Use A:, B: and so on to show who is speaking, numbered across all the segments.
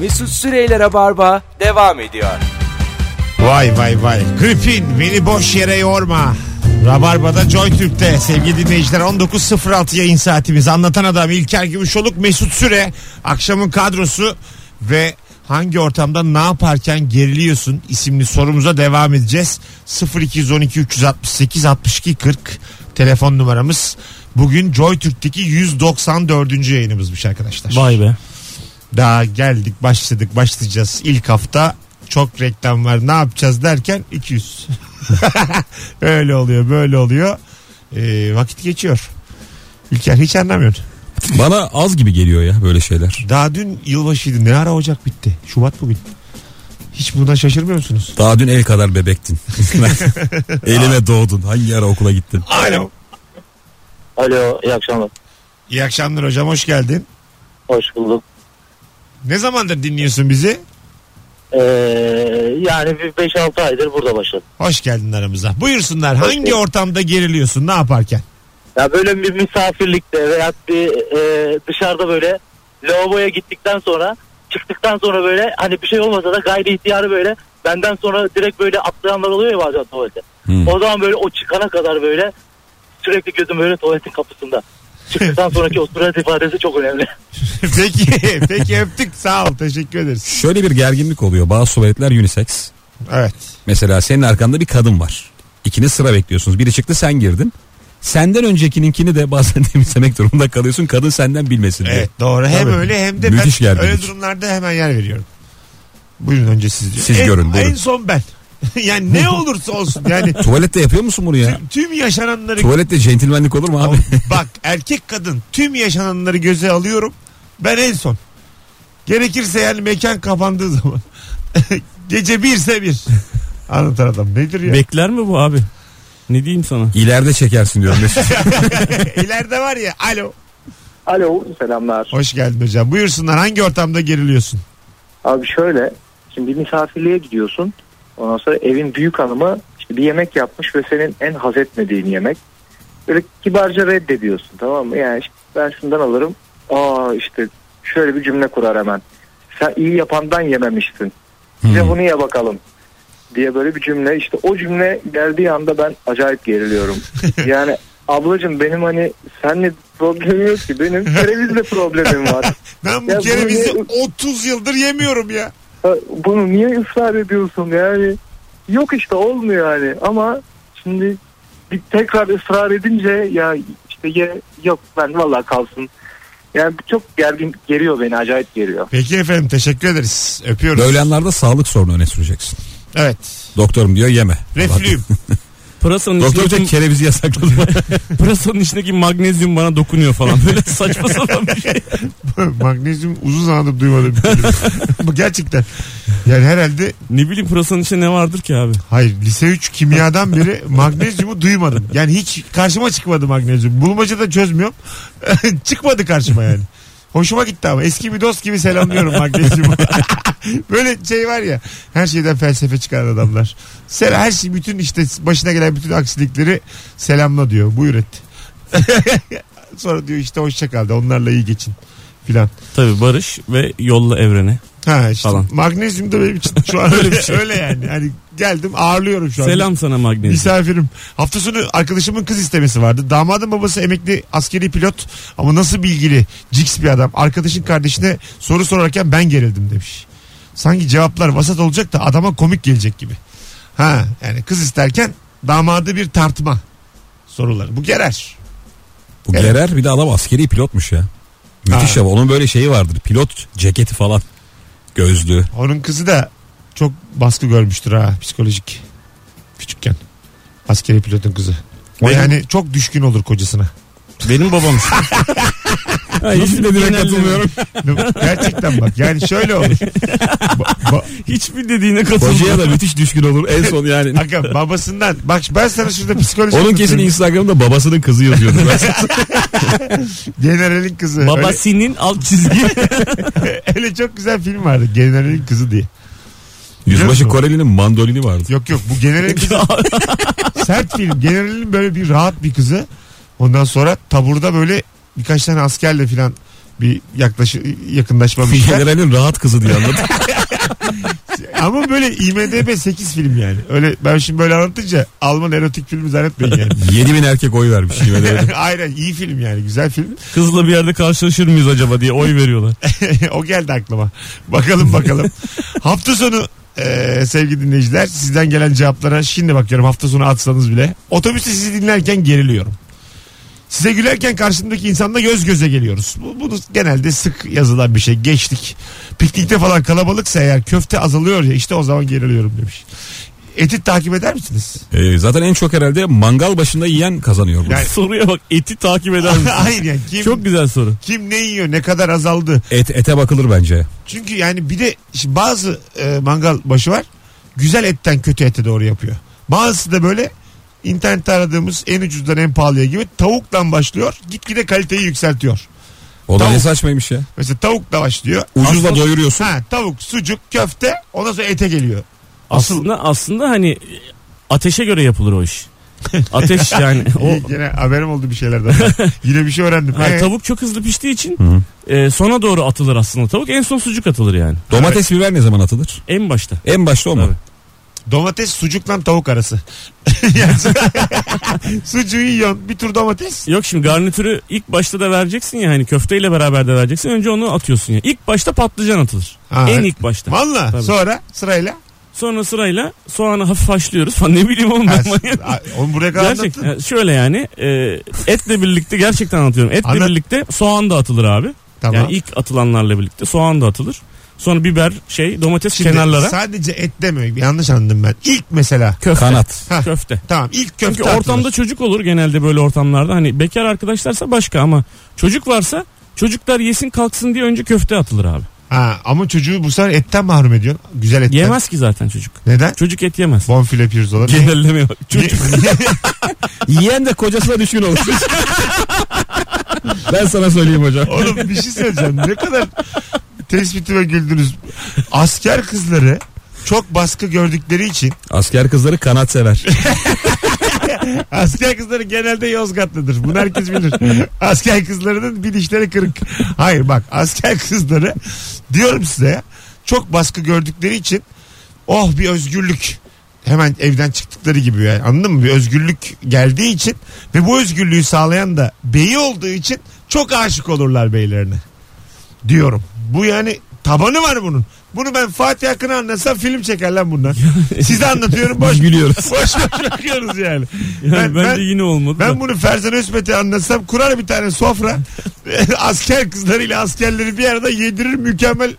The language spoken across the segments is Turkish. A: Mesut Süreyler'e barba devam ediyor.
B: Vay vay vay. Gripin beni boş yere yorma. Rabarba'da Joy Türk'te sevgili dinleyiciler 19.06 yayın saatimiz. Anlatan adam İlker Gümüşoluk Mesut Süre. Akşamın kadrosu ve hangi ortamda ne yaparken geriliyorsun isimli sorumuza devam edeceğiz. 0212 368 62 40 telefon numaramız. Bugün Joy Türk'teki 194. yayınımızmış arkadaşlar.
C: Vay be.
B: Daha geldik başladık başlayacağız ilk hafta çok reklam var ne yapacağız derken 200. Öyle oluyor böyle oluyor Ee, vakit geçiyor. İlker hiç anlamıyorsun.
D: Bana az gibi geliyor ya böyle şeyler.
B: Daha dün yılbaşıydı ne ara Ocak bitti Şubat bugün. Hiç buna şaşırmıyor musunuz?
D: Daha dün el kadar bebektin. Elime doğdun. Hangi ara okula gittin?
B: Alo.
E: Alo iyi akşamlar.
B: İyi akşamlar hocam hoş geldin.
E: Hoş bulduk.
B: Ne zamandır dinliyorsun bizi?
E: Ee, yani bir 5-6 aydır burada başladım.
B: Hoş geldin aramıza. Buyursunlar hangi ortamda geriliyorsun ne yaparken?
E: Ya böyle bir misafirlikte veya bir e, dışarıda böyle lavaboya gittikten sonra çıktıktan sonra böyle hani bir şey olmasa da gayri ihtiyarı böyle benden sonra direkt böyle atlayanlar oluyor ya bazen tuvalete.
D: Hmm.
E: O zaman böyle o çıkana kadar böyle sürekli gözüm böyle tuvaletin kapısında. Çıktıktan sonraki o surat ifadesi çok önemli.
B: peki peki öptük sağ ol teşekkür ederiz.
D: Şöyle bir gerginlik oluyor. Bazı tuvaletler unisex.
B: Evet.
D: Mesela senin arkanda bir kadın var. İkiniz sıra bekliyorsunuz. Biri çıktı sen girdin. Senden öncekininkini de bazen temizlemek durumunda kalıyorsun. Kadın senden bilmesin diye.
B: Evet doğru. Hem
D: Tabii.
B: öyle hem de
D: Müthiş
B: ben
D: gerginlik.
B: öyle durumlarda hemen yer veriyorum. Buyurun önce siz. diyor.
D: Siz
B: en,
D: görün, buyurun.
B: En son ben. yani ne olursa olsun yani
D: Tuvalette yapıyor musun bunu ya?
B: tüm yaşananları
D: Tuvalette centilmenlik olur mu abi?
B: bak erkek kadın tüm yaşananları göze alıyorum. Ben en son. Gerekirse yani mekan kapandığı zaman. Gece birse bir. Anlatan adam nedir ya?
C: Bekler mi bu abi? Ne diyeyim sana?
D: İleride çekersin diyorum. Mesut.
B: İleride var ya alo.
F: Alo selamlar.
B: Hoş geldin hocam. Buyursunlar hangi ortamda geriliyorsun?
F: Abi şöyle şimdi bir misafirliğe gidiyorsun. Ondan sonra evin büyük hanımı işte bir yemek yapmış ve senin en haz etmediğin yemek. Böyle kibarca reddediyorsun tamam mı? Yani işte ben şundan alırım. Aa işte şöyle bir cümle kurar hemen. Sen iyi yapandan yememişsin. Bize bunu ye bakalım diye böyle bir cümle. İşte o cümle geldiği anda ben acayip geriliyorum. yani ablacığım benim hani senle problemim yok ki benim kerevizle problemim var.
B: Ben bu
F: Ya
B: kerevizi
F: bunu
B: 30 yıldır yemiyorum ya.
F: Ha, bunu niye ısrar ediyorsun yani? Yok işte olmuyor yani ama şimdi bir tekrar ısrar edince ya işte ye, yok ben vallahi kalsın. Yani bu çok gergin geriyor beni acayip geriyor.
B: Peki efendim teşekkür ederiz. Öpüyoruz.
D: Böyle anlarda sağlık sorunu öne süreceksin.
B: Evet.
D: Doktorum diyor yeme.
B: Reflüyüm.
C: Pırasanın
D: Doktor
C: içindeki,
D: diyor kerevizi yasakladı.
C: pırasanın içindeki magnezyum bana dokunuyor falan. Böyle saçma sapan bir şey.
B: Magnezyum uzun zamandır duymadım. bir kelime. Bu gerçekten. Yani herhalde
C: Ne bileyim pırasanın içinde ne vardır ki abi?
B: hayır lise 3 kimyadan beri magnezyumu duymadım. Yani hiç karşıma çıkmadı magnezyum. Bulmaca da çözmüyorum. çıkmadı karşıma yani. Hoşuma gitti ama eski bir dost gibi selamlıyorum magnezyumu. Böyle şey var ya her şeyden felsefe çıkaran adamlar. Sen her şey bütün işte başına gelen bütün aksilikleri selamla diyor. Buyur et. Sonra diyor işte hoşça kal da onlarla iyi geçin filan.
C: Tabi barış ve yolla evrene.
B: Ha işte
C: Falan.
B: magnezyum da benim için şu an öyle, öyle yani. Hani geldim ağırlıyorum şu an.
C: Selam sana magnezyum.
B: Misafirim. Hafta sonu arkadaşımın kız istemesi vardı. Damadın babası emekli askeri pilot ama nasıl bilgili, ciks bir adam. Arkadaşın kardeşine soru sorarken ben gerildim demiş. Sanki cevaplar vasat olacak da adama komik gelecek gibi. Ha yani kız isterken damadı bir tartma soruları. Bu gerer.
D: Bu
B: Evet.
D: Gerer bir de adam askeri pilotmuş ya. Müthiş
B: Ha.
D: ama onun böyle şeyi vardır. Pilot ceketi falan. Gözlüğü.
B: Onun kızı da çok baskı görmüştür ha psikolojik. Küçükken. Askeri pilotun kızı. O
C: Benim-
B: yani çok düşkün olur kocasına.
C: Benim babam. Ay,
D: Nasıl
C: hiçbir
D: dediğine
C: genelleme-
D: katılmıyorum.
B: Gerçekten bak yani şöyle olur. Ba- ba-
C: Hiçbir dediğine
D: Hocaya
C: katılmıyorum.
D: da müthiş düşkün olur en son yani.
B: Aga babasından bak ben sana şurada psikoloji
D: Onun kesin
B: anlatıyorum.
D: Instagram'da babasının kızı yazıyordu.
B: Generalin kızı. Öyle,
C: Babasının alt çizgi.
B: öyle çok güzel film vardı Generalin kızı diye.
D: Yüzbaşı
B: Biliyorsun.
D: Koreli'nin mandolini vardı.
B: Yok yok bu Generalin kızı sert film. Generalin böyle bir rahat bir kızı. Ondan sonra taburda böyle birkaç tane askerle filan bir yaklaşı, yakınlaşmamışlar.
D: Generalin rahat kızı diye anladım.
B: Ama böyle IMDB 8 film yani. Öyle ben şimdi böyle anlatınca Alman erotik filmi zannetmeyin yani.
D: 7000 erkek oy vermiş. Yine de.
B: Aynen iyi film yani güzel film.
C: Kızla bir yerde karşılaşır mıyız acaba diye oy veriyorlar.
B: o geldi aklıma. Bakalım bakalım. hafta sonu e, sevgili dinleyiciler sizden gelen cevaplara şimdi bakıyorum hafta sonu atsanız bile. Otobüste sizi dinlerken geriliyorum. Size gülerken karşımdaki insanla göz göze geliyoruz. Bu, bunu genelde sık yazılan bir şey. Geçtik. Piknikte falan kalabalıksa eğer köfte azalıyor ya işte o zaman geriliyorum demiş. Eti takip eder misiniz?
D: Ee, zaten en çok herhalde mangal başında yiyen kazanıyor. bu.
B: Yani-
C: Soruya bak eti takip eder misin?
B: Hayır yani kim,
C: Çok güzel soru.
B: kim ne yiyor ne kadar azaldı.
D: Et, ete bakılır bence.
B: Çünkü yani bir de şimdi bazı e, mangal başı var. Güzel etten kötü ete doğru yapıyor. Bazısı da böyle internette aradığımız en ucuzdan en pahalıya gibi tavuktan başlıyor. Gitgide kaliteyi yükseltiyor.
D: O da
B: Tavuk.
D: ne saçmaymış ya.
B: Mesela tavukla başlıyor.
D: Ucuzla
B: Aslında-
D: doyuruyorsun.
B: Ha, tavuk, sucuk, köfte ondan sonra ete geliyor. Asıl
C: Aslında aslında hani ateşe göre yapılır o iş. Ateş yani o
B: İyi, gene haberim oldu bir şeylerden. Yine bir şey öğrendim.
C: Ha,
B: Ee,
C: tavuk çok hızlı piştiği için e, sona doğru atılır aslında tavuk. En son sucuk atılır yani.
D: Domates biber ne zaman atılır?
C: En başta.
D: En başta o mu?
C: Tabii.
B: Domates sucukla tavuk arası. Yani- Sucuğu yiyorsun bir tur domates.
C: Yok şimdi garnitürü ilk başta da vereceksin ya hani köfteyle beraber de vereceksin. Önce onu atıyorsun ya. İlk başta patlıcan atılır.
B: Ha,
C: en
B: evet.
C: ilk başta.
B: Valla
C: Tabii.
B: sonra sırayla.
C: Sonra sırayla soğanı hafif haşlıyoruz falan ne bileyim oğlum ben manyak.
B: Ha, Onu buraya kadar
C: Gerçek,
B: anlattın.
C: yani şöyle yani e, etle birlikte gerçekten anlatıyorum. Etle
B: Anlat.
C: birlikte soğan da atılır abi.
B: Tamam.
C: Yani ilk atılanlarla birlikte soğan da atılır. Sonra biber şey domates
B: Şimdi
C: kenarlara
B: Sadece et demiyor. Yanlış anladım ben. İlk mesela.
C: köfte.
D: Kanat.
B: Hah,
C: Köfte.
B: Tamam ilk köfte
C: Çünkü ortamda
B: atılır.
C: çocuk olur genelde böyle ortamlarda. Hani bekar arkadaşlarsa başka ama çocuk varsa çocuklar yesin kalksın diye önce köfte atılır abi.
B: Ha, ama çocuğu bu sefer etten mahrum ediyorsun. Güzel etten.
C: Yemez ki zaten çocuk.
B: Neden?
C: Çocuk et yemez.
B: Bonfile pirzola. Ne?
C: Genelleme bak. Çocuk
D: Yiyen de kocasına düşkün olsun. ben sana söyleyeyim hocam.
B: Oğlum bir şey söyleyeceğim. Ne kadar tespitime güldünüz. Asker kızları çok baskı gördükleri için
D: Asker kızları kanat sever.
B: asker kızları genelde Yozgatlıdır. Bunu herkes bilir. asker kızlarının bilinçleri kırık. Hayır bak asker kızları diyorum size ya, çok baskı gördükleri için oh bir özgürlük hemen evden çıktıkları gibi yani anladın mı? Bir özgürlük geldiği için ve bu özgürlüğü sağlayan da beyi olduğu için çok aşık olurlar beylerine. Diyorum. Bu yani tabanı var bunun. Bunu ben Fatih Akın'a anlatsam film çeker lan bundan. Size anlatıyorum boş
D: Biz gülüyoruz.
B: Boş boş bakıyoruz yani.
C: yani
B: ben,
C: bence
B: ben,
C: yine olmadı. da.
B: ben bunu Ferzan Özmet'e anlatsam kurar bir tane sofra. Asker kızlarıyla askerleri bir arada yedirir mükemmel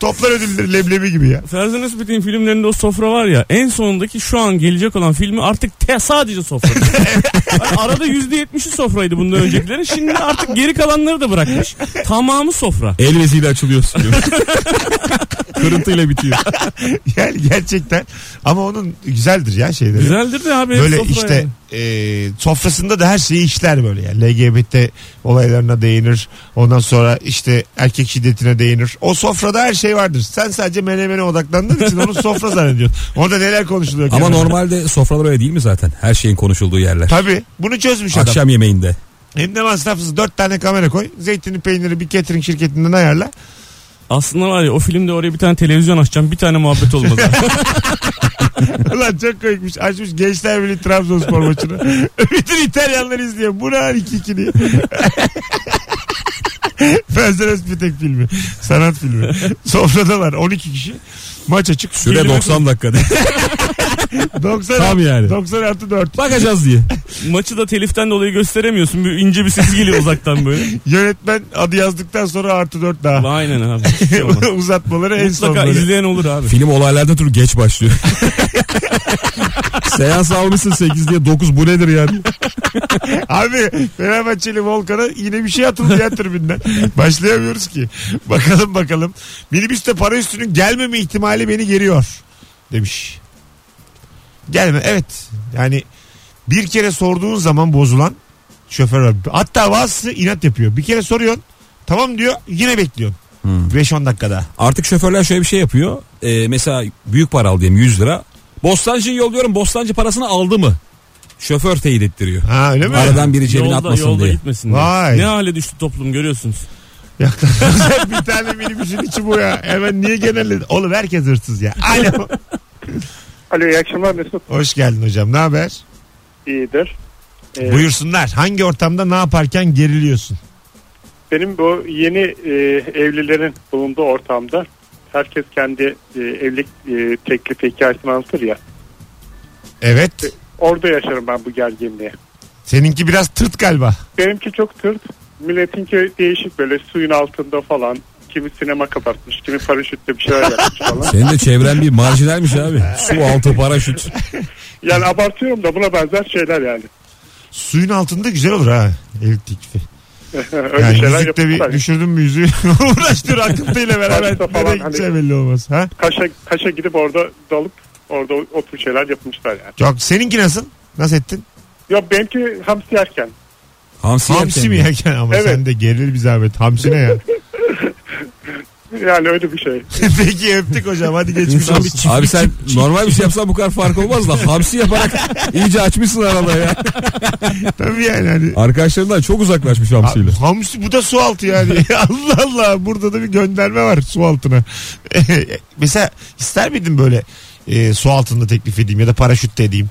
B: toplar ödülleri leblebi gibi ya.
C: Ferzan Özbet'in filmlerinde o sofra var ya en sonundaki şu an gelecek olan filmi artık te sadece sofra. Hani arada %70'i sofraydı bundan öncekilerin. Şimdi artık geri kalanları da bırakmış. Tamamı sofra.
D: El veziyle açılıyorsun. Kırıntıyla bitiyor.
B: Yani gerçekten ama onun güzeldir ya şeyleri.
C: Güzeldir de abi hep
B: Böyle
C: sofra
B: işte
C: yani.
B: e, sofrasında da her şeyi işler böyle yani LGBT olaylarına değinir ondan sonra işte erkek şiddetine değinir o sofrada her şey vardır sen sadece menemene odaklandığın için onu sofra zannediyorsun orada neler konuşuluyor
D: Ama
B: kenarda?
D: normalde sofralar öyle değil mi zaten? Her şeyin konuşulduğu yerler.
B: Tabii bunu çözmüş adam.
D: Akşam yemeğinde.
B: Hem de masrafsız dört tane kamera koy. Zeytini peyniri bir catering şirketinden ayarla.
C: Aslında var ya o filmde oraya bir tane televizyon açacağım bir tane muhabbet olmaz.
B: Ulan çok komikmiş. Açmış Gençler Birliği Trabzonspor maçını. Bütün İtalyanlar izliyor. Bu ne lan 2-2 diye. Fezler Özpetek filmi. Sanat filmi. Sofradalar 12 kişi. Maç açık.
D: Süre 90 dakikada.
B: 90,
D: Tam yani.
B: 90 artı 4.
D: Bakacağız diye.
C: Maçı da teliften dolayı gösteremiyorsun. Bir ince bir ses geliyor uzaktan böyle.
B: Yönetmen adı yazdıktan sonra artı 4 daha.
C: Aynen abi. hiçbir şey olmaz.
B: Uzatmaları en son.
C: Mutlaka
B: böyle.
C: izleyen olur abi.
D: Film olaylardan türlü geç başlıyor. Seans almışsın 8 diye 9 bu nedir yani?
B: Abi Fenerbahçeli Volkan'a yine bir şey atıldı ya tribünden. Başlayamıyoruz ki. Bakalım bakalım. Minibüste para üstünün gelmeme ihtimali beni geriyor. Demiş. Gelme evet. Yani bir kere sorduğun zaman bozulan şoför var. Hatta bazısı inat yapıyor. Bir kere soruyorsun. Tamam diyor. Yine bekliyorsun. 5-10 dakikada.
D: Artık şoförler şöyle bir şey yapıyor. Ee, mesela büyük para al diyelim 100 lira. Bostancı'yı yolluyorum. Bostancı parasını aldı mı? Şoför teyit ettiriyor.
B: Ha öyle mi?
D: Aradan biri cebine
C: Yolda,
D: atmasın
C: yolda
D: diye.
C: gitmesin diye.
B: Vay.
C: Ne hale düştü toplum görüyorsunuz.
B: Yaklaşık bir tane minibüsün içi bu ya. Hemen niye genelledin? Oğlum herkes hırsız ya. Alo.
G: Alo iyi akşamlar Mesut.
B: Hoş geldin hocam. Ne haber?
G: İyidir. Ee,
B: Buyursunlar. Hangi ortamda ne yaparken geriliyorsun?
G: Benim bu yeni e, evlilerin bulunduğu ortamda herkes kendi e, evlilik e, teklifi hikayesini anlatır ya. E,
B: Evet.
G: Orada yaşarım ben bu gerginliği.
B: Seninki biraz tırt galiba.
G: Benimki çok tırt. Milletinki değişik böyle suyun altında falan. Kimi sinema kapatmış, kimi paraşütle bir şeyler yapmış falan.
D: Senin de çevren bir marjinalmiş abi. Su altı paraşüt.
G: Yani abartıyorum da buna benzer şeyler yani.
B: Suyun altında güzel olur ha. Evlilik teklifi.
G: Öyle
B: Yani
G: şeyler
B: müzikte bir
G: yapıyorlar.
B: düşürdün mü yüzüğü uğraştır akıntıyla beraber.
G: Başta falan
B: Nereye
G: hani-
B: gideceği belli olmaz. Ha?
G: Kaşa, kaşa gidip orada dalıp orada o tür şeyler yapmışlar yani.
B: Çok. Seninki nasıl? Nasıl ettin?
G: Ya benimki hamsi yerken.
D: Hamsi,
B: Hamsi
D: yerken
B: mi
D: mi?
B: yerken ama
G: Evet.
B: sen de gerilir bir zahmet. Hamsi ne ya?
G: Yani öyle bir şey.
B: Peki öptük hocam hadi geçmiş
D: İnsan-
B: olsun.
D: abi sen normal bir şey yapsan bu kadar fark olmaz da hamsi yaparak iyice açmışsın arada ya.
B: Tabii yani hani.
D: Arkadaşlarından çok uzaklaşmış hamsiyle.
B: Hamsi bu da su altı yani. Allah Allah burada da bir gönderme var su altına. Mesela ister miydin böyle e, su altında teklif edeyim ya da paraşütte edeyim?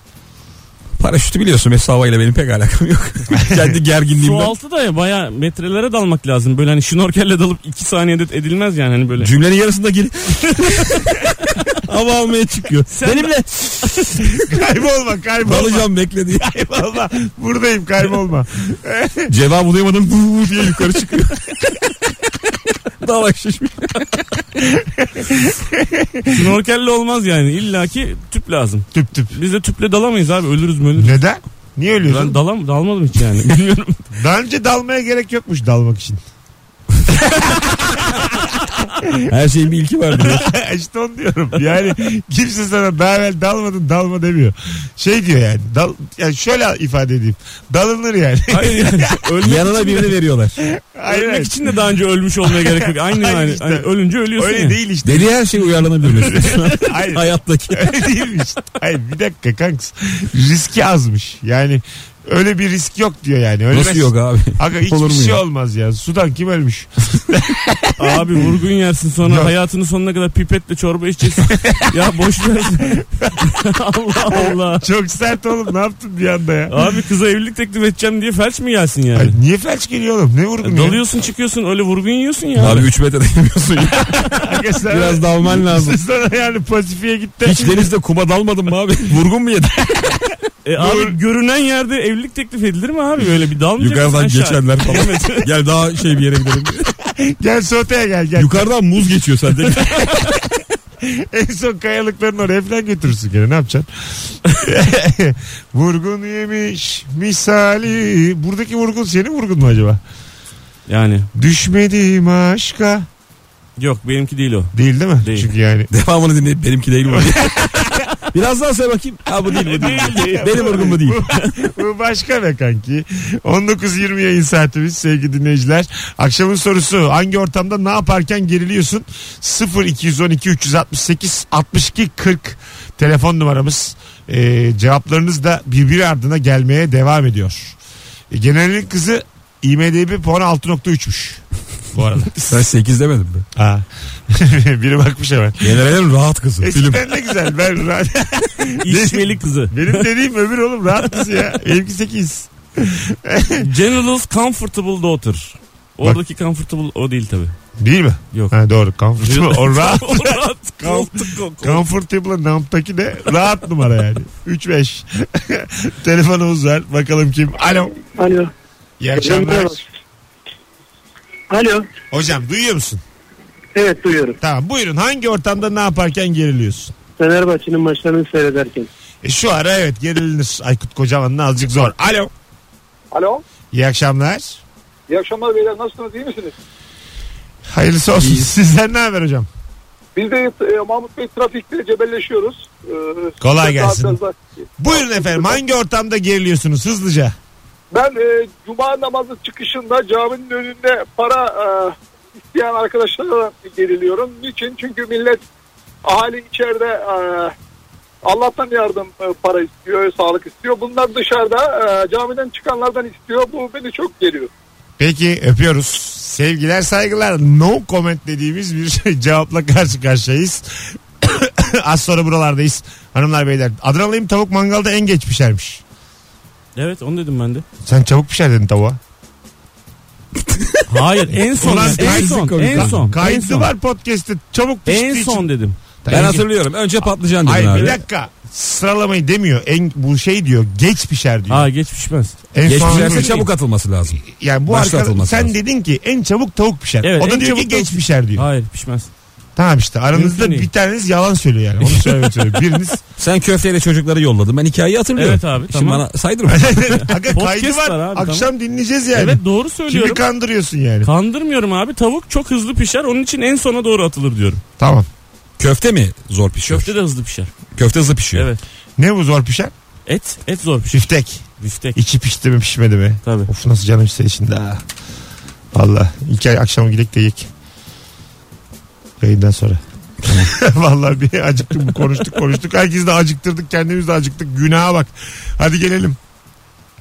D: Paraşütü biliyorsun mesela havayla benim pek alakam yok. Kendi
C: Su
D: gerginliğimden.
C: altı da ya baya metrelere dalmak lazım. Böyle hani şnorkelle dalıp 2 saniyede edilmez yani hani böyle.
D: Cümlenin yarısında geri hava almaya çıkıyor. Benimle
B: kaybolma kaybolma.
D: dalacağım bekle diye.
B: kaybolma. Buradayım kaybolma.
D: Cevap bulamadım "Vuu" diye yukarı çıkıyor. Dala şişmiş.
C: Şnorkelle olmaz yani. İlla ki tüp lazım.
B: tüp tüp.
C: Biz de tüple dalamayız abi. Ölürüz mü ölürüz.
B: Neden? Niye ölüyorsun?
C: Ben dalam, dalmadım hiç yani. Bilmiyorum.
B: Daha önce dalmaya gerek yokmuş dalmak için.
D: Her şeyin bir ilki var diyor.
B: işte onu diyorum. Yani kimse sana daha evvel dalmadın dalma demiyor. Şey diyor yani. Dal, yani şöyle ifade edeyim. Dalınır yani.
C: Hayır yani. Ölmek,
D: Yanına birini veriyorlar.
B: Aynen.
C: ölmek için de daha önce ölmüş olmaya gerek yok. Aynı
B: Aynı
C: yani.
B: işte.
C: Hani ölünce ölüyorsun
B: Öyle
C: ya.
B: değil işte.
D: Deli her şey uyarlanabiliyor.
B: Hayır.
D: Hayattaki.
B: Öyle değilmiş. Hayır bir dakika kanks. Riski azmış. Yani öyle bir risk yok diyor yani. Ölmez.
D: Nasıl yok abi?
B: Aga
D: Olur mu
B: hiçbir şey
D: ya?
B: olmaz ya. Sudan kim ölmüş?
C: Abi vurgun yersin sonra
B: Yok.
C: hayatının sonuna kadar pipetle çorba içeceksin. ya boş ver. Allah Allah.
B: Çok sert oğlum ne yaptın bir anda ya?
C: Abi kıza evlilik teklif edeceğim diye felç mi gelsin yani?
B: Ay, niye felç geliyor oğlum? Ne
D: E,
B: vurdun ya?
C: Dalıyorsun çıkıyorsun öyle vurgun yiyorsun ya.
D: Abi 3 metre değmiyorsun ya.
B: Aga sen-
D: Biraz dalman lazım.
B: Sana yani pasifiye gitti.
D: Hiç denizde kuma dalmadın mı abi? Vurgun mu yedin?
C: E abi görünen yerde evlilik teklif edilir mi abi? Böyle bir dalmayacak
D: Yukarıdan
C: mısın aşağı?
D: geçenler falan. Gel daha şey bir yere gidelim.
B: Gel soteye gel gel.
D: Yukarıdan muz geçiyor sende.
B: En son kayalıkların oraya falan götürürsün gene ne yapacaksın? vurgun yemiş misali. Buradaki vurgun senin vurgun mu acaba?
C: Yani
B: Düşmedim aşka.
C: yok benimki değil o.
B: Değil değil mi?
C: Değil.
B: Çünkü yani.
D: Devamını dinleyip benimki değil bu. Biraz daha söyle bakayım. Ha bu değil bu değil. Benim vurgun bu değil.
B: Bu başka be kanki. 19.20 yayın saatimiz sevgili dinleyiciler. Akşamın sorusu hangi ortamda ne yaparken geriliyorsun? 0 212 368 62 40 telefon numaramız. Ee, cevaplarınız da birbiri ardına gelmeye devam ediyor. E, genellik kızı IMDB puanı 6.3'müş. Bu arada.
D: Sen 8 demedin mi?
B: ha. Biri bakmış hemen.
D: Generalin rahat kızı. Film.
B: Eskiden ne güzel. Ben
C: İçmeli kızı.
B: Benim dediğim öbür oğlum rahat kız ya. Benimki 8.
C: General's Comfortable Daughter. Oradaki comfortable o değil tabi.
B: Değil mi?
C: Yok.
B: Ha, doğru. Comfortable. O rahat.
C: O rahat. Koltuk koku.
B: Comfortable nump'taki de rahat numara yani. 3-5. Telefonumuz var. Bakalım kim? Alo.
E: Alo.
B: İyi akşamlar.
E: Alo.
B: Hocam duyuyor musun?
E: Evet duyuyorum.
B: Tamam buyurun. Hangi ortamda ne yaparken geriliyorsun?
E: Fenerbahçe'nin maçlarını seyrederken.
B: E, şu ara evet gerilinir. Aykut Kocaman'ın azıcık zor. Alo.
G: Alo.
B: İyi akşamlar.
G: İyi akşamlar beyler nasılsınız iyi misiniz?
B: Hayırlısı olsun. Sizden ne haber hocam?
G: Biz de e, Mahmut Bey trafikte cebelleşiyoruz. Ee,
B: Kolay
G: daha
B: gelsin.
G: biraz daha-
B: Buyurun efendim. Hangi ortamda geriliyorsunuz? Hızlıca.
G: Ben e, cuma namazı çıkışında caminin önünde para e, isteyen arkadaşlara geriliyorum. Niçin? Çünkü millet ahali içeride e, Allah'tan yardım e, para istiyor, sağlık istiyor. Bunlar dışarıda e, camiden çıkanlardan istiyor. Bu beni çok geliyor.
B: Peki öpüyoruz. Sevgiler saygılar. No comment dediğimiz bir şey. cevapla karşı karşıyayız. Az sonra buralardayız. Hanımlar beyler. Adanalıyım tavuk mangalda en geç pişermiş.
C: Evet onu dedim ben de.
B: Sen çabuk pişer dedin tavuğa.
C: Hayır en son
B: Ulan
C: en
B: kaydı
C: son
D: komik.
C: en son en
B: Kayıtlı
C: son,
B: var podcast'te çabuk piştiği
C: en son
B: için.
C: dedim.
D: Ben hatırlıyorum. Önce patlıcan dedin
B: Hayır bir
D: abi.
B: dakika. Sıralamayı demiyor. En, bu şey diyor. Geç pişer diyor.
C: Ha geç pişmez.
B: en
D: Geç
B: son-
D: pişerse çabuk atılması lazım.
B: Yani bu
D: Başta
B: arkadaş
D: atılması
B: sen
D: lazım.
B: dedin ki en çabuk tavuk pişer.
C: Evet,
B: o da diyor
C: en
B: ki
C: çabuk tavuk
B: geç pişer diyor.
C: Hayır pişmez.
B: Tamam işte aranızda
C: Mümkün değil.
B: bir taneniz yalan söylüyor yani. Onu söylemek istiyorum. Biriniz
D: Sen köfteyle çocukları yolladın. Ben hikayeyi hatırlıyorum.
C: Evet abi,
D: Şimdi
C: tamam.
D: bana saydırma.
B: Aga
C: Podcast
B: kaydı var.
C: var abi,
B: Akşam dinleyeceğiz yani.
C: Evet doğru
B: Kimi
C: söylüyorum.
B: kandırıyorsun yani?
C: Kandırmıyorum abi tavuk çok hızlı pişer onun için en sona doğru atılır diyorum.
B: tamam.
D: Köfte mi zor pişiyor? Köfte,
C: Köfte de hızlı pişer.
D: hızlı pişiyor.
C: Evet.
B: Ne bu zor pişen?
C: Et et zor pişer.
B: Biftek.
C: Biftek
B: İçi pişti mi pişmedi mi?
C: tabii. Ah.
B: Of nasıl canım işte şimdi ha. Valla. İlk ay akşam gidek de yiyek. Yayından sonra. Vallahi bir acıktık bu konuştuk konuştuk. Herkesi de acıktırdık kendimiz de acıktık. Günaha bak. Hadi gelelim.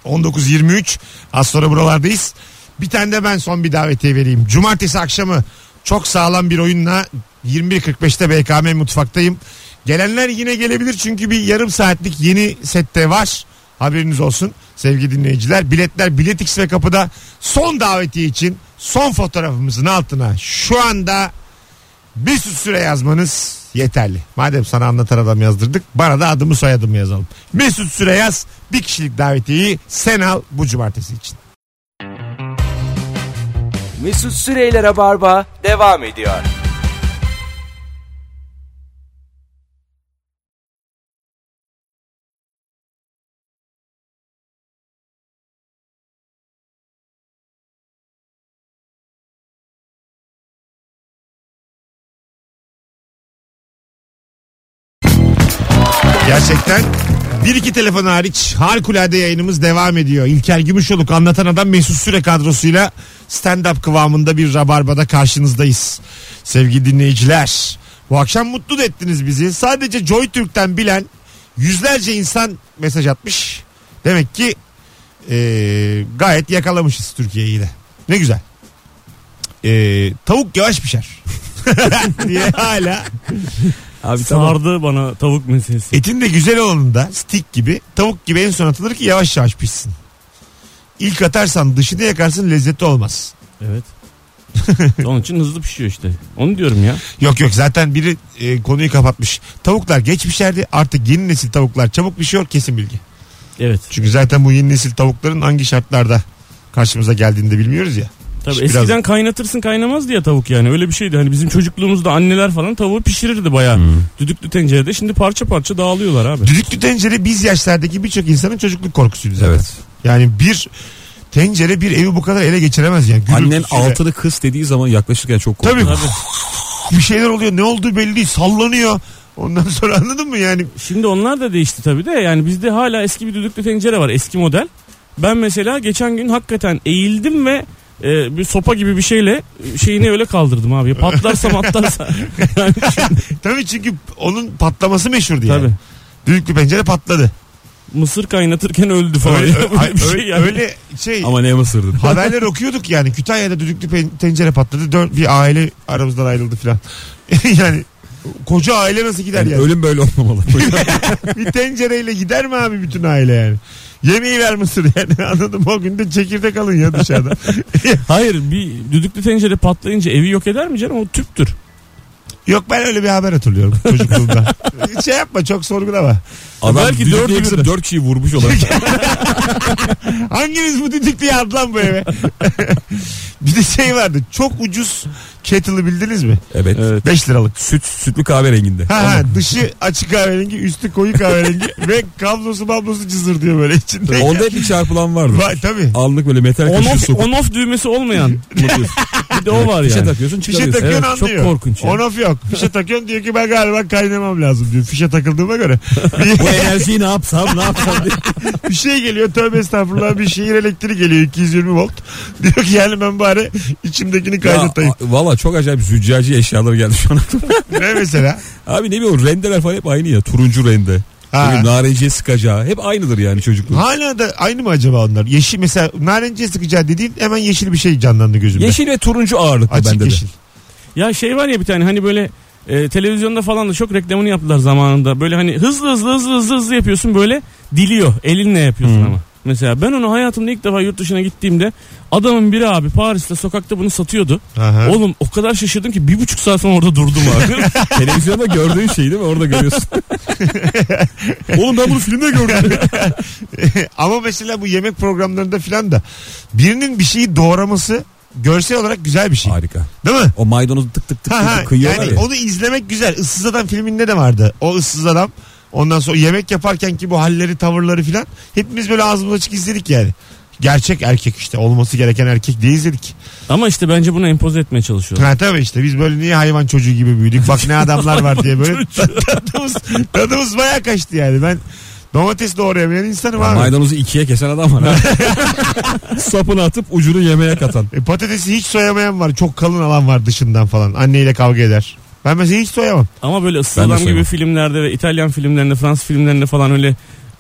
B: 19.23 az sonra buralardayız. Bir tane de ben son bir davetiye vereyim. Cumartesi akşamı çok sağlam bir oyunla 21.45'te BKM mutfaktayım. Gelenler yine gelebilir çünkü bir yarım saatlik yeni sette var. Haberiniz olsun sevgili dinleyiciler. Biletler Biletix ve kapıda son davetiye için son fotoğrafımızın altına şu anda bir sürü süre yazmanız yeterli. Madem sana anlatan adam yazdırdık bana da adımı soyadımı yazalım. Mesut Süre yaz bir kişilik davetiyeyi sen al bu cumartesi için.
A: Mesut Süreyler'e barba devam ediyor.
B: Gerçekten bir iki telefon hariç harikulade yayınımız devam ediyor. İlker Gümüşoluk anlatan adam Mesut Süre kadrosuyla stand-up kıvamında bir rabarbada karşınızdayız. Sevgili dinleyiciler bu akşam mutlu da ettiniz bizi. Sadece Joy Türk'ten bilen yüzlerce insan mesaj atmış. Demek ki eee, gayet yakalamışız Türkiye'yi de. Ne güzel. Eee, tavuk yavaş pişer. diye hala
D: Abi tamam.
C: Sardı bana tavuk meselesi.
B: Etin de güzel olanında stik gibi tavuk gibi en son atılır ki yavaş yavaş pişsin. İlk atarsan dışını yakarsın lezzeti olmaz.
C: Evet. Onun için hızlı pişiyor işte. Onu diyorum ya.
B: Yok yok zaten biri e, konuyu kapatmış. Tavuklar geç pişerdi artık yeni nesil tavuklar çabuk pişiyor kesin bilgi.
C: Evet.
B: Çünkü zaten bu yeni nesil tavukların hangi şartlarda karşımıza geldiğini de bilmiyoruz ya.
C: Tabii
B: İşte
C: eskiden
B: biraz-
C: kaynatırsın kaynamaz diye tavuk yani. Öyle bir şeydi. Hani bizim çocukluğumuzda anneler falan tavuğu pişirirdi bayağı. Düdüklü tencerede. Şimdi parça parça dağılıyorlar abi.
B: Düdüklü tencere biz yaşlardaki birçok insanın çocukluk korkusuydu zaten.
D: Evet.
B: Yani bir tencere bir evi bu kadar ele geçiremez yani.
D: Annen
B: Gürültüsüyle.
D: altılı kız dediği zaman yaklaşırken çok korktum.
B: Tabii. bir şeyler oluyor. Ne olduğu belli değil. Sallanıyor. Ondan sonra anladın mı yani?
C: Şimdi onlar da değişti tabii de. Yani bizde hala eski bir düdüklü tencere var. Eski model. Ben mesela geçen gün hakikaten eğildim ve e, bir sopa gibi bir şeyle e, şeyini öyle kaldırdım abi. Patlarsa matlarsa.
B: Tabii çünkü onun patlaması meşhurdu yani.
C: tabii.
B: Düdüklü pencere patladı.
C: Mısır kaynatırken öldü falan.
B: Öyle,
C: Öyle, bir
B: ö-
C: şey yani.
B: öyle şey
D: Ama ne mısırdın?
B: haberler okuyorduk yani. Kütahya'da düdüklü pen- tencere patladı. Dön, bir aile aramızdan ayrıldı filan. yani koca aile nasıl gider yani?
D: Ölüm böyle olmamalı.
B: bir tencereyle gider mi abi bütün aile yani? Yemeği ver mısır yani anladım o gün de çekirdek alın ya dışarıda.
C: Hayır bir düdüklü tencere patlayınca evi yok eder mi canım? O tüptür.
B: Yok ben öyle bir haber hatırlıyorum çocukluğumda. şey yapma çok sorgulama.
D: Adam
C: Belki
D: Belki
C: dört yıldır.
D: dört, dört kişiyi vurmuş olabilir.
B: Hanginiz bu düdüklüye aldı lan bu eve? bir de şey vardı. Çok ucuz kettle'ı bildiniz mi?
D: evet.
C: Evet.
B: 5 liralık.
D: Süt, sütlü kahverenginde.
B: Ha ha dışı açık kahverengi üstü koyu kahverengi ve kablosu bablosu cızır diyor böyle içinde.
D: Onda hep bir çarpılan vardı.
B: Vay tabii.
D: Aldık böyle metal
C: On
D: kaşığı
C: off,
D: sokup.
C: on off düğmesi olmayan. bir de o var
D: Fişe
C: yani.
D: takıyorsun
B: Fişe
D: çıkarıyorsun.
B: takıyorsun
C: Evet, çok
B: anlıyor.
C: korkunç ya.
B: On off yok. Fişe takıyorsun diyor ki ben galiba kaynamam lazım diyor. Fişe takıldığıma göre.
D: Bu enerjiyi ne yapsam ne yapsam diye.
B: bir şey geliyor tövbe estağfurullah bir şehir elektriği geliyor 220 volt. Diyor ki yani ben bari içimdekini kaynatayım.
D: Ya, a- Valla çok acayip züccaci eşyalar geldi şu an.
B: Ne mesela?
D: Abi ne bileyim rendeler falan hep aynı ya. Turuncu rende.
B: Ha.
D: Bugün narenciye sıkacağı hep aynıdır yani çocukluk.
B: Hala da aynı mı acaba onlar? Yeşil mesela narenciye sıkacağı dediğin hemen yeşil bir şey canlandı gözümde.
D: Yeşil ve turuncu ağırlıklı
B: Açık
D: bende
B: yeşil.
D: de.
C: Ya şey var ya bir tane hani böyle e, televizyonda falan da çok reklamını yaptılar zamanında. Böyle hani hızlı hızlı hızlı hızlı hızlı yapıyorsun böyle diliyor. Elinle yapıyorsun
D: Hmm.
C: ama. Mesela ben onu hayatımda ilk defa yurt dışına gittiğimde adamın biri abi Paris'te sokakta bunu satıyordu.
B: Aha.
C: Oğlum o kadar şaşırdım ki bir buçuk saat sonra orada durdum abi.
D: Televizyonda gördüğün şey değil mi? Orada görüyorsun.
C: Oğlum ben bunu filmde gördüm.
B: Ama mesela bu yemek programlarında filan da birinin bir şeyi doğraması görsel olarak güzel bir şey.
D: Harika.
B: Değil mi?
D: O maydanozu tık tık tık
B: Ha ha.
D: tık kıyıyorlar
B: Yani
D: ya.
B: onu izlemek güzel. Issız Adam filminde de vardı. O ıssız adam. Ondan sonra yemek yaparken ki bu halleri, tavırları filan hepimiz böyle ağzımız açık izledik yani. Gerçek erkek işte olması gereken erkek diye izledik.
C: Ama işte bence bunu empoze etmeye çalışıyorlar.
B: Ha tabii işte biz böyle niye hayvan çocuğu gibi büyüdük bak ne adamlar var diye böyle tadımız, tadımız baya kaçtı yani ben domates doğrayamayan insanım
D: Ya
B: abi.
D: Maydanozu ikiye kesen adam var ha. Sapını atıp ucunu yemeğe katan.
B: E, patatesi hiç soyamayan var. Çok kalın alan var dışından falan. Anneyle kavga eder. Ben mesela hiç soyamam.
C: Ama böyle ıssız
D: Ben de
C: adam gibi
D: sevmem.
C: filmlerde ve İtalyan filmlerinde, Fransız filmlerinde falan öyle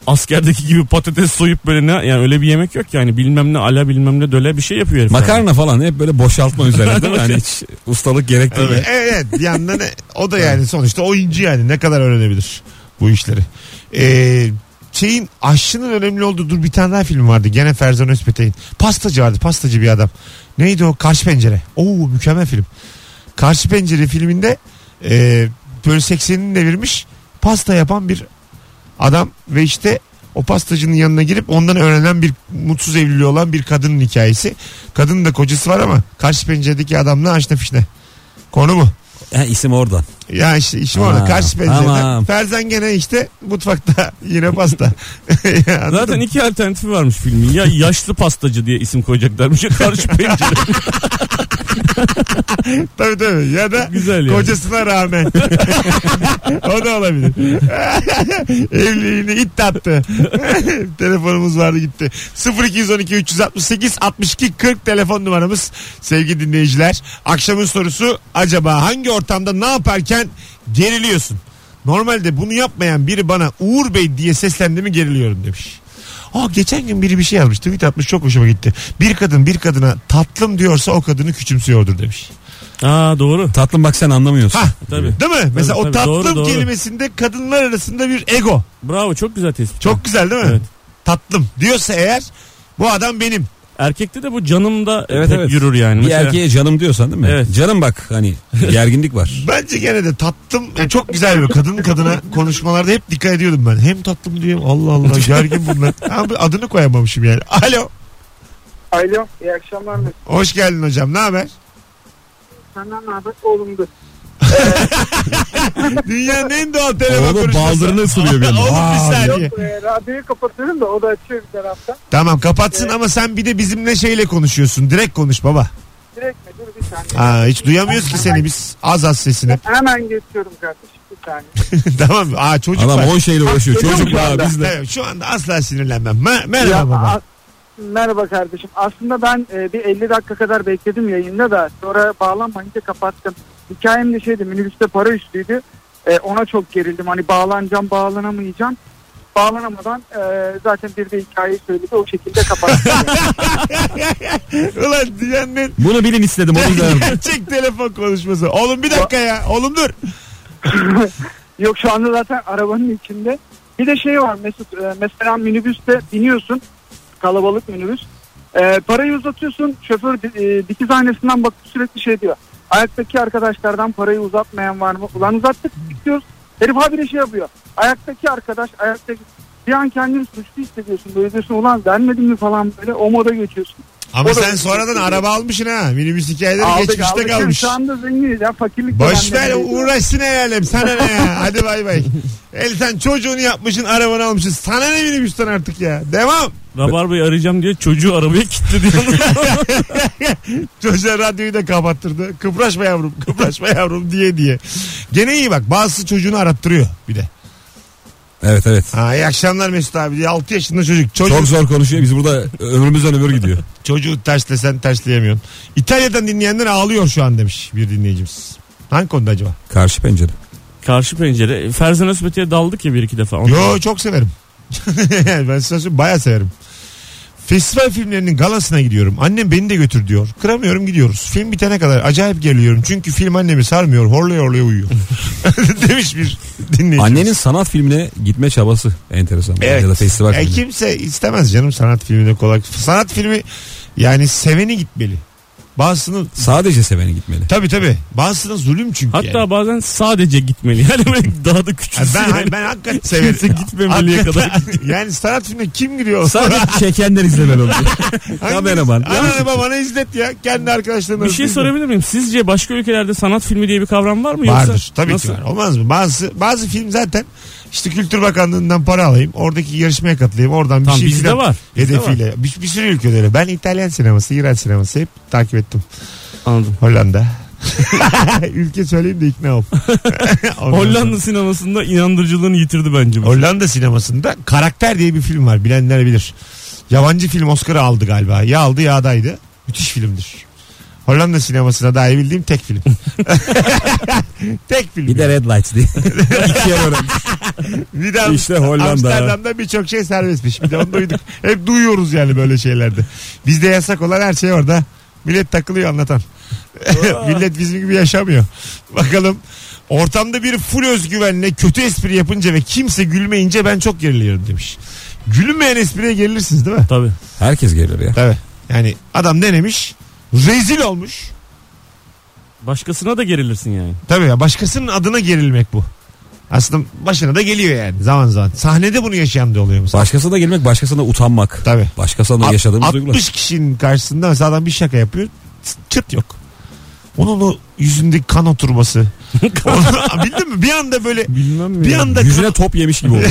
C: askerdeki gibi patates soyup böyle ne yani öyle bir yemek yok yani bilmem ne ala bilmem ne döle bir şey yapıyor herif.
D: Makarna falan hep böyle boşaltma üzerine değil mi? Hani hiç ustalık gerektirmiyor.
B: Evet, evet bir yandan e, o da yani sonuçta oyuncu yani ne kadar öğrenebilir bu işleri. Ee, şeyin aşçının önemli olduğu dur bir tane daha film vardı gene Ferzan Özpetek'in. Pastacı vardı pastacı bir adam. Neydi o? Karşı Pencere. Oo mükemmel film. Karşı Pencere filminde e, böyle 80'ini devirmiş pasta yapan bir adam ve işte o pastacının yanına girip ondan öğrenen bir mutsuz evliliği olan bir kadının hikayesi. Kadının da kocası var ama karşı penceredeki adamla aşna fişne. Konu bu.
D: Ha, isim oradan.
B: Ya işte işim orada
D: Ha,
B: karşı pencereden.
D: tamam.
B: Ferzan gene işte mutfakta yine pasta. Anladın
C: Zaten
B: mı?
C: iki alternatifi varmış filmin. Ya yaşlı pastacı diye isim koyacaklarmış ya karşı pencere.
B: tabii tabii ya da
C: Güzel yani.
B: kocasına rağmen. o da olabilir. Evliliğini it tattı. Telefonumuz vardı gitti. 0212 368 62 40 telefon numaramız sevgili dinleyiciler. Akşamın sorusu acaba hangi ortamda ne yaparken geriliyorsun? Normalde bunu yapmayan biri bana Uğur Bey diye seslendi mi geriliyorum demiş. Aa, geçen gün biri bir şey yazmış tweet atmış çok hoşuma gitti. Bir kadın bir kadına tatlım diyorsa o kadını küçümsüyordur demiş.
C: Aa doğru.
D: Tatlım bak sen anlamıyorsun.
B: Hah.
C: Tabii.
B: Değil mi? Mesela o
C: tabii.
B: tatlım
C: Doğru, doğru.
B: kelimesinde kadınlar arasında bir ego.
C: Bravo çok güzel tespit.
B: Çok güzel değil mi?
C: Evet.
B: Tatlım diyorsa eğer bu adam benim.
C: Erkekte de bu canımda
D: Evet,
C: pek
D: evet.
C: yürür yani.
D: Bir
C: Mesela
D: erkeğe canım diyorsan değil mi?
C: Evet.
D: Canım bak hani gerginlik var.
B: Bence gene de tatlım yani çok güzel bir kadın kadına konuşmalarda hep dikkat ediyordum ben. Hem tatlım diyorum Allah Allah gergin bunlar. Abi adını koyamamışım yani. Alo.
G: Alo iyi akşamlar mı?
B: Hoş geldin hocam. Ne haber?
G: Senden ne haber? Olumlu.
B: Dünyanın en doğal telefon
D: Oğlum
B: konuşması.
D: baldırını ısırıyor bir anda.
B: Oğlum
D: Aa,
B: bir saniye.
G: Ee, radyoyu kapatıyorum da o da açıyor bir taraftan.
B: Tamam kapatsın ama sen bir de bizimle şeyle konuşuyorsun. Direkt konuş baba.
G: Direkt mi? Dur bir saniye.
B: Aa, hiç duyamıyoruz ki seni biz. Az az sesini.
G: Hemen geçiyorum kardeşim bir saniye.
B: tamam. Aa çocuk
D: Adam
B: var.
D: o şeyle uğraşıyor.
G: Bak,
D: Çocuk
G: geliyor
D: var
G: mu
D: biz de.
B: Evet, şu anda asla sinirlenmem. Me- merhaba
G: Ya,
B: baba.
G: a- merhaba kardeşim. Aslında ben e, bir 50 dakika kadar bekledim yayında da sonra bağlanmayınca kapattım. Hikayem de şeydi minibüste para üstüydü. E, ona çok gerildim. Hani bağlanacağım bağlanamayacağım. Bağlanamadan e, zaten bir de hikayeyi söyledi. O şekilde kapattım.
B: Ulan dünyanın
D: Bunu bilin istedim o yüzden.
B: gerçek telefon konuşması. Oğlum bir dakika ya. Oğlum dur.
G: Yok şu anda zaten arabanın içinde. Bir de şey var Mesut e, mesela minibüste biniyorsun kalabalık minibüs. E, parayı uzatıyorsun şoför e, dikiz aynasından bakıp sürekli şey diyor. Ayaktaki arkadaşlardan parayı uzatmayan var mı? Ulan uzattık bitiyoruz. Herif habire şey yapıyor. Ayaktaki arkadaş ayaktaki bir an kendini suçlu hissediyorsun. Böyle diyorsun ulan vermedim mi falan böyle o moda geçiyorsun.
B: Ama
G: O da-
B: sen sonradan araba almışsın ha. Minibüs hikayeleri geçmişte
G: aldık.
B: kalmış.
G: Şu anda zenginiz ya fakirlik.
B: Boş ver
G: dönemleri.
B: uğraşsın helalim. Sana ne ya? Hadi bay bay. El sen çocuğunu yapmışsın arabanı almışsın. Sana ne minibüsten artık ya. Devam.
C: Rabarbayı arayacağım diye çocuğu arabaya kilitledi.
B: Çocuğa radyoyu da kapattırdı. Kıpraşma yavrum kıpraşma yavrum diye diye. Gene iyi bak bazısı çocuğunu arattırıyor bir de.
D: Evet evet.
B: Ha, iyi akşamlar Mesut abi diye 6 yaşında çocuk. Çocuk
D: Çok zor konuşuyor. Biz burada ömrümüzden ömür gidiyor.
B: Çocuğu terslesen tersleyemiyorsun. İtalya'dan dinleyenler ağlıyor şu an demiş bir dinleyicimiz. Hangi konuda acaba?
D: Karşı pencere.
C: Karşı pencere. e, Ferzan Özbeti'ye daldık ya bir iki defa. Ondan-
B: Yo çok severim. ben size söyleyeyim bayağı severim. Festival filmlerinin galasına gidiyorum. Annem beni de götür diyor. Kıramıyorum gidiyoruz. Film bitene kadar acayip geliyorum. Çünkü film annemi sarmıyor. Horlaya horlaya uyuyor. Demiş bir dinleyici.
D: Annenin sanat filmine gitme çabası enteresan.
B: Evet.
D: Ya da festival
B: E,
D: filmi.
B: kimse istemez canım sanat filmine kolay. Sanat filmi yani seveni gitmeli. Bazısının
D: Sadece seveni gitmeli.
B: tabi tabi. Bazısının zulüm çünkü.
C: Hatta
B: yani.
C: bazen sadece gitmeli. Yani böyle daha da
B: Yani
C: küçülsün.
B: ben,
C: yani.
B: ben hakikaten
C: Kimse
B: severim.
C: gitmemeliye kadar.
B: yani sanat filmine kim giriyor?
D: Sadece çekenler izlemeli oluyor. Kameraman.
B: Ananı babanı izlet ya. Kendi arkadaşlarına.
C: bir şey sorabilir miyim? Sizce başka ülkelerde sanat filmi diye bir kavram var mı?
B: Vardır.
C: Yoksa
B: Tabii
C: nasıl?
B: ki var. Olmaz mı? Bazı, bazı film zaten işte Kültür Bakanlığı'ndan para alayım. Oradaki yarışmaya katılayım. Oradan bir
C: Tamam,
B: şey
C: bizde
B: filan
C: var. Bizde
B: Hedefiyle. Bir, bir sürü ülkede öyle. Ben İtalyan sineması, İran sineması hep takip ettim.
C: Anladım.
B: Hollanda. Ülke söyleyeyim de ikna ol. Ondan
C: Hollanda
B: sonra-
C: sinemasında inandırıcılığını yitirdi bence. bu.
B: Hollanda sinemasında Karakter diye bir film var. Bilenler bilir. Yabancı film Oscar'ı aldı galiba. Ya aldı ya adaydı. Müthiş filmdir. Hollanda sinemasına dair bildiğim tek film. tek film.
D: Bir de Red Lights diye. İkiye bölen.
B: Bir de Am-
D: İşte Hollanda.
B: Amsterdam'da birçok şey serbestmiş. Bir de onu duyduk. Hep duyuyoruz yani böyle şeylerde. Bizde yasak olan her şey orada. Millet takılıyor anlatan. Millet bizim gibi yaşamıyor. Bakalım ortamda bir full özgüvenle kötü espri yapınca ve kimse gülmeyince ben çok geriliyorum demiş. Gülünmeyen espriye gerilirsiniz değil mi?
C: Tabii.
D: Herkes gelir ya.
B: Tabii. Yani adam denemiş. Rezil olmuş.
C: Başkasına da gerilirsin yani.
B: Tabii ya başkasının adına gerilmek bu. Aslında başına da geliyor yani zaman zaman. Sahnede bunu yaşayan da oluyor mesela.
D: Başkasına gelmek başkasına utanmak.
B: Tabii.
D: Başkasına
B: Alt-
D: yaşadığımız
B: 60
D: duygular.
B: kişinin karşısında mesela adam bir şaka yapıyor. Çıt yok. Onun o yüzündeki kan oturması. Onu- bildin mi? Bir anda böyle
C: Bilmem mi?
B: bir anda kan-
D: Yüzüne top yemiş gibi oluyor.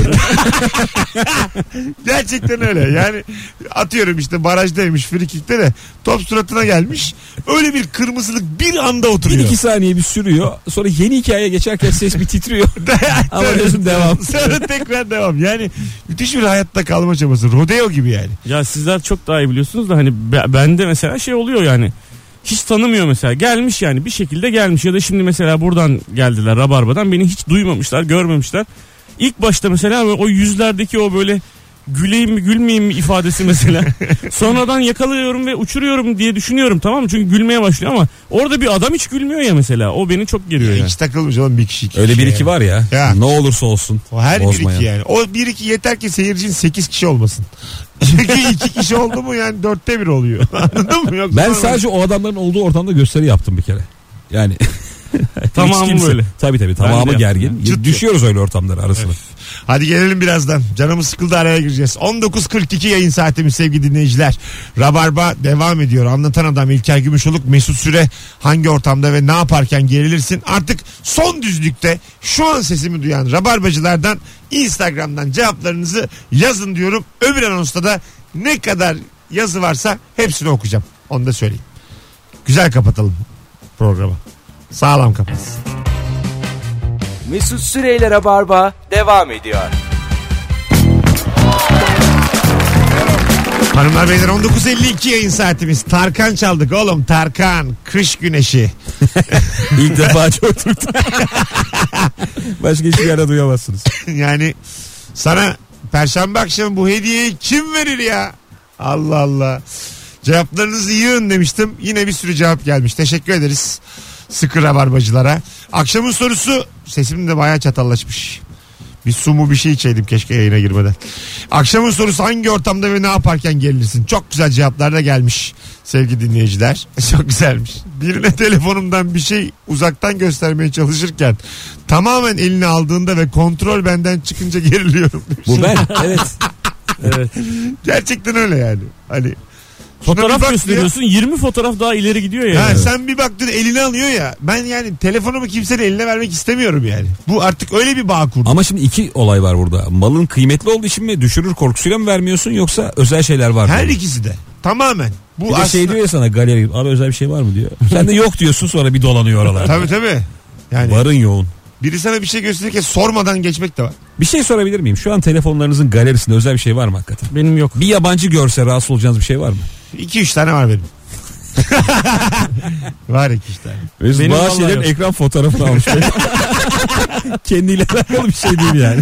B: gerçekten öyle. Yani atıyorum işte barajdaymış frikikte de top suratına gelmiş. Öyle bir kırmızılık bir anda
D: bir
B: oturuyor.
D: iki saniye bir sürüyor. Sonra yeni hikayeye geçerken ses bir titriyor. Ama diyorsun devam.
B: Sonra tekrar devam. Yani müthiş bir hayatta kalma çabası. Rodeo gibi yani.
C: Ya sizler çok daha iyi biliyorsunuz da hani be- bende mesela şey oluyor yani. Hiç tanımıyor mesela. Gelmiş yani bir şekilde gelmiş ya da şimdi mesela buradan geldiler Rabarba'dan beni hiç duymamışlar, görmemişler. İlk başta mesela o yüzlerdeki o böyle güleyim mi gülmeyeyim mi ifadesi mesela. Sonradan yakalıyorum ve uçuruyorum diye düşünüyorum tamam mı? Çünkü gülmeye başlıyor ama orada bir adam hiç gülmüyor ya mesela. O beni çok geriyor yani.
B: Hiç takılmış oğlum bir kişi. iki
D: Öyle
B: kişi
D: bir
B: yani.
D: iki var ya.
B: Şey. Ya.
D: Ne olursa olsun.
B: O her bir
D: bozmayan.
B: iki yani. O bir iki yeter ki seyircinin sekiz kişi olmasın. Çünkü iki kişi oldu mu yani dörtte bir oluyor. Anladın mı? Yoksa
D: Ben
B: normal.
D: sadece o adamların olduğu ortamda gösteri yaptım bir kere. Yani hiç
C: Tamamı
D: kimse-
C: böyle.
D: Tabii tabii
C: de
D: tamamı
C: yaptım
D: gergin.
B: ya. Çıt
D: Düşüyoruz öyle ortamlara arasına.
B: Hadi gelelim birazdan. Canımız sıkıldı araya gireceğiz. 19.42 yayın saatimiz sevgili dinleyiciler. Rabarba devam ediyor. Anlatan adam İlker Gümüşoluk Mesut Süre hangi ortamda ve ne yaparken gerilirsin? Artık son düzlükte şu an sesimi duyan Rabarbacılardan Instagram'dan cevaplarınızı yazın diyorum. Öbür anonsta da ne kadar yazı varsa hepsini okuyacağım. Onu da söyleyeyim. Güzel kapatalım programı. Sağlam kapatsın.
A: Mesut Süreyler'e barba devam ediyor.
B: Hanımlar beyler 19.52 yayın saatimiz. Tarkan çaldık oğlum Tarkan. Kış güneşi.
D: İlk defa çok Türk'te. Başka hiçbir yerde duyamazsınız.
B: yani sana perşembe akşamı bu hediyeyi kim verir ya? Allah Allah. Cevaplarınızı yığın demiştim. Yine bir sürü cevap gelmiş. Teşekkür ederiz. Sıkı rabarbacılara. Akşamın sorusu sesim de bayağı çatallaşmış. Bir su mu bir şey içeydim keşke yayına girmeden. Akşamın sorusu hangi ortamda ve ne yaparken gelirsin? Çok güzel cevaplar da gelmiş sevgili dinleyiciler. Çok güzelmiş. Birine telefonumdan bir şey uzaktan göstermeye çalışırken tamamen eline aldığında ve kontrol benden çıkınca geriliyorum. demiş.
D: Bu ben. Evet.
B: Gerçekten öyle yani. Hani şuna bir bak
C: Fotoğraf
B: diyor.
C: gösteriyorsun 20 fotoğraf daha ileri gidiyor ya.
B: Ha, sen bir baktın elini alıyor ya. Ben yani telefonumu kimsenin eline vermek istemiyorum yani. Bu artık öyle bir bağ kurdu.
D: Ama şimdi iki olay var burada. Malın kıymetli olduğu için mi düşürür korkusuyla mı vermiyorsun yoksa özel şeyler var mı?
B: Her ikisi de. Tamamen. Bu
D: Bir de
B: aslında...
D: şey diyor ya sana galeri abi özel bir şey var mı diyor. Sen de yok diyorsun sonra bir dolanıyor oralarda.
B: Tabii tabii. Yani
D: Varın yoğun.
B: biri sana bir şey gösterirken sormadan geçmek de var.
D: Bir şey sorabilir miyim? Şu an telefonlarınızın galerisinde özel bir şey var mı hakikaten?
C: Benim yok.
D: Bir yabancı görse rahatsız olacağınız bir şey var mı?
B: 2-3 tane var benim. Var iki işte.
D: Mesut
C: Benim
D: Bahşiş'in
C: vallahi
D: ekran fotoğrafını almış. Kendiyle alakalı bir şey değil yani.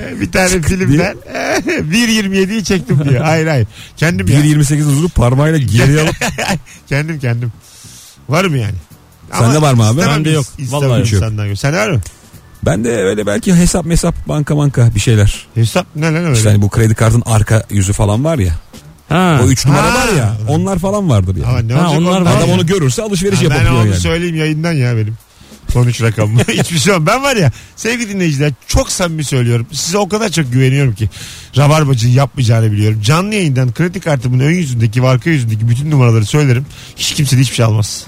B: E, Bir tane filmden e, 1.27'yi çektim diyor. Hayır hayır. Kendim ya.
D: 1.28 uzunluk parmağıyla geriye alıp
B: Kendim kendim. Varım yani.
D: Sende var mı abi?
B: istemem
C: Bende
B: is-
C: yok.
B: istemem
C: Vallahi
D: yok.
B: insandan. Sen var mı?
D: Ben de öyle belki hesap mesap banka banka bir şeyler.
B: Hesap ne lan öyle?
D: İşte hani bu kredi kartının arka yüzü falan var ya.
C: Ha.
D: O 3
B: Ha.
D: numara var ya. Onlar falan vardır ya.
B: Ama ne
C: Ha,
B: olacak?
C: onlar
B: ondan
C: var
D: Adam
B: ya?
D: onu görürse alışveriş
B: Ha, ben
D: yapabiliyor
B: onu
D: yani.
B: söyleyeyim yayından ya benim. Son üç rakamı. Hiçbir şey yok. Ben var ya sevgili dinleyiciler çok samimi söylüyorum. Size o kadar çok güveniyorum ki. Rabarbacı yapmayacağını biliyorum. Canlı yayından kredi kartımın ön yüzündeki ve arka yüzündeki bütün numaraları söylerim. Hiç kimse de hiçbir şey almaz.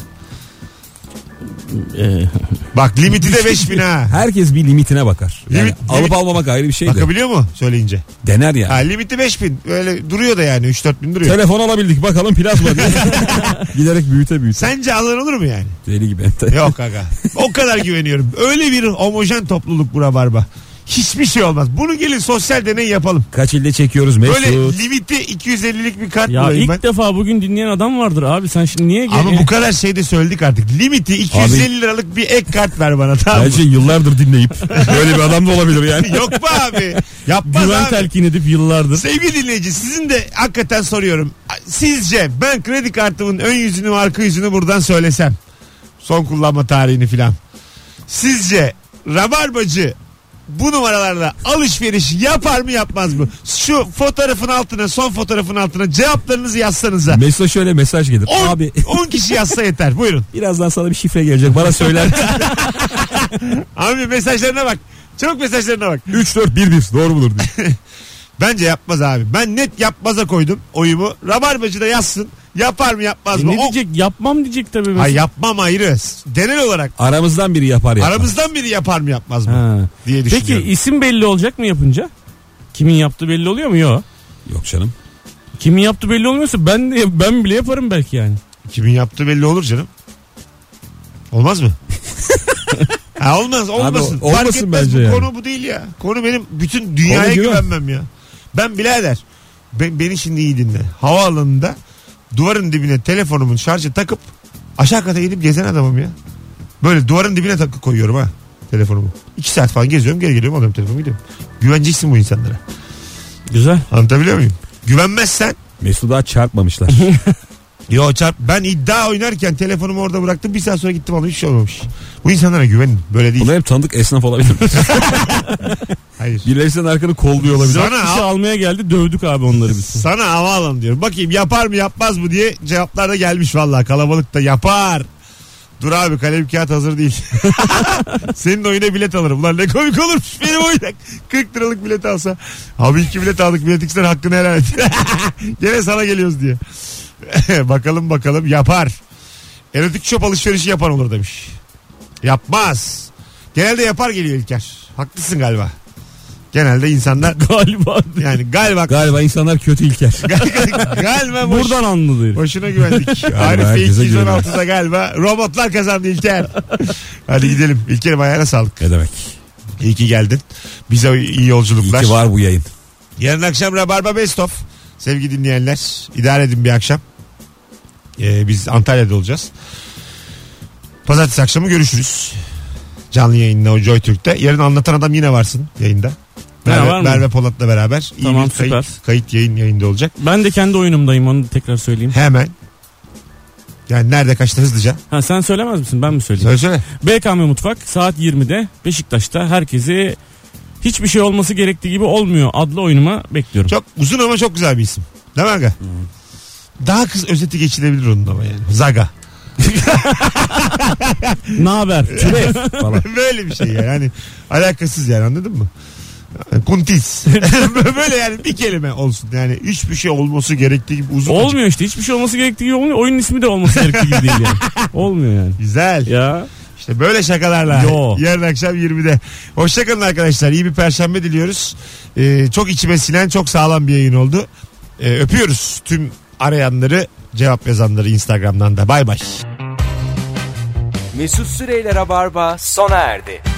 C: Ee,
B: Bak limiti de 5000 ha.
D: Herkes bir limitine bakar. Yani
B: Limit-
D: alıp
B: limit-
D: almamak ayrı bir şey de.
B: Bakabiliyor mu söyleyince?
D: Dener yani.
B: Ha, limiti 5000. Öyle duruyor da yani 3-4 bin duruyor.
D: Telefon alabildik bakalım plazma diye. Giderek büyüte büyüte.
B: Sence alır olur mu yani?
D: Deli gibi.
B: Yok aga. O kadar güveniyorum. Öyle bir homojen topluluk bu rabarba. Hiçbir şey olmaz. Bunu gelin sosyal deney yapalım.
D: Kaç ilde çekiyoruz Mesut.
B: Böyle limiti 250'lik bir kart
C: ya
B: bulayım
C: ilk
B: ben.
C: defa bugün dinleyen adam vardır abi. Sen şimdi niye gel-
B: Ama bu kadar şey de söyledik artık. Limiti 250 liralık bir ek kart ver bana tamam mı?
D: Bence yıllardır dinleyip böyle bir adam da olabilir yani.
B: Yok be abi. Yapmaz
C: güven
B: abi.
C: telkin edip yıllardır.
B: Sevgili dinleyici sizin de hakikaten soruyorum. Sizce ben kredi kartımın ön yüzünü arka yüzünü buradan söylesem. Son kullanma tarihini filan. Sizce Rabarbacı bu numaralarla alışveriş yapar mı yapmaz mı? Şu fotoğrafın altına son fotoğrafın altına cevaplarınızı yazsanıza.
D: Mesut'a şöyle mesaj gelir.
B: 10,
D: Abi
B: 10 kişi yazsa yeter buyurun.
D: birazdan sana bir şifre gelecek bana söyler. misin?
B: Abi mesajlarına bak. Çok mesajlarına bak.
D: 3 4 1 1 doğru mudur diye.
B: Bence yapmaz abi. Ben net yapmaza koydum oyumu. Rabarbacı da yazsın. Yapar mı yapmaz
C: E
B: mı?
C: ne
B: O-
C: diyecek? Yapmam diyecek tabii.
B: Ha
C: Mesela.
B: yapmam ayrı. Genel olarak
D: Aramızdan biri yapar ya.
B: aramızdan biri yapar mı yapmaz mı
C: Ha.
B: diye
C: Peki
B: düşünüyorum.
C: isim belli olacak mı yapınca? Kimin yaptığı belli oluyor mu? Yok.
D: Yok canım.
C: Kimin yaptığı belli olmuyorsa ben de- ben bile yaparım belki yani.
B: Kimin yaptığı belli olur canım. Olmaz mı? ha, olmaz olmasın.
D: o- olmasın
B: Fark etmez
D: bence
B: bu
D: yani.
B: konu bu değil ya. Konu benim bütün dünyaya
D: Konu güven.
B: güvenmem ya. Ben birader ben, beni şimdi iyi dinle. Havaalanında duvarın dibine telefonumun şarjı takıp aşağı kata inip gezen adamım ya. Böyle duvarın dibine takıp koyuyorum ha telefonumu. İki saat falan geziyorum geri geliyorum alıyorum telefonumu gidiyorum. Güveneceksin bu insanlara.
C: Güzel.
B: Anlatabiliyor muyum? Güvenmezsen
D: Mesut'a daha çarpmamışlar.
B: Yo çarp. Ben iddia oynarken telefonumu orada bıraktım. Bir saat sonra gittim ama hiç şey olmamış. Bu insanlara güvenin. Böyle değil.
D: Bunlar hep tanıdık esnaf olabilir.
B: Hayır.
D: Birileri senin arkanı kolluyor olabilir.
B: Sana,
C: Kişi
B: al-
C: şey almaya geldi dövdük abi onları biz.
B: sana havaalanı diyorum. Bakayım yapar mı yapmaz mı diye cevaplar da gelmiş vallahi Kalabalık da yapar. Dur abi kalem kağıt hazır değil. Senin oyuna bilet alırım. Ulan ne komik olurmuş benim oyuna. 40 liralık bilet alsa. Abi iki bilet aldık. Bilet ikisinden hakkını helal et. Gene sana geliyoruz diye. bakalım bakalım yapar. Erotik shop alışverişi yapan olur demiş. Yapmaz. Genelde yapar geliyor İlker. Haklısın galiba. Genelde insanlar
C: Galiba.
B: yani galiba
D: Galiba insanlar kötü İlker.
B: galiba boş,
C: Buradan anladı.
B: boşuna güvendik. Arife
D: herkese
B: 216'da galiba robotlar kazandı İlker. Hadi gidelim. İlker'im ayağına sağlık.
D: ne demek?
B: İyi ki geldin. Bize iyi
D: İyi
B: yolculuklar.
D: ki var bu yayın.
B: Yarın akşam Rabarba Best of. Sevgili dinleyenler idare edin bir akşam. Ee, biz Antalya'da olacağız. Pazartesi akşamı görüşürüz. Canlı yayınla o Joy Türk'te. Yarın anlatan adam yine varsın yayında.
C: Ha,
B: Merve,
C: var mı?
B: Merve Polat'la beraber. İyi
C: Tamam,
B: bir kayıt,
C: süper.
B: kayıt yayın yayında olacak.
C: Ben de kendi oyunumdayım onu da tekrar söyleyeyim.
B: Hemen. Yani nerede kaçta hızlıca?
C: Ha sen söylemez misin? Ben mi söyleyeyim?
B: Söyle söyle.
C: BKM Mutfak saat 20'de Beşiktaş'ta herkesi hiçbir şey olması gerektiği gibi olmuyor adlı oyunuma bekliyorum.
B: Çok uzun ama çok güzel bir isim. Değil mi Aga? Daha kız özeti geçilebilir onun ama yani. Zaga.
C: Ne haber?
D: Türev falan.
B: Böyle bir şey yani. Hani alakasız yani anladın mı? Kuntis. Böyle yani bir kelime olsun. Yani hiçbir şey olması gerektiği gibi uzun.
C: olmuyor işte. Hiçbir şey olması gerektiği gibi olmuyor. Oyunun ismi de olması gerektiği gibi değil yani. Olmuyor yani.
B: Güzel.
C: Ya.
B: İşte böyle şakalarla.
C: Yo.
B: Yarın akşam 20'de. Hoşçakalın arkadaşlar. İyi bir perşembe diliyoruz. Ee, çok içime sinen çok sağlam bir yayın oldu. Ee, öpüyoruz tüm arayanları cevap yazanları Instagram'dan da. Bay bay.
A: Mesut Süreyler'e barba sona erdi.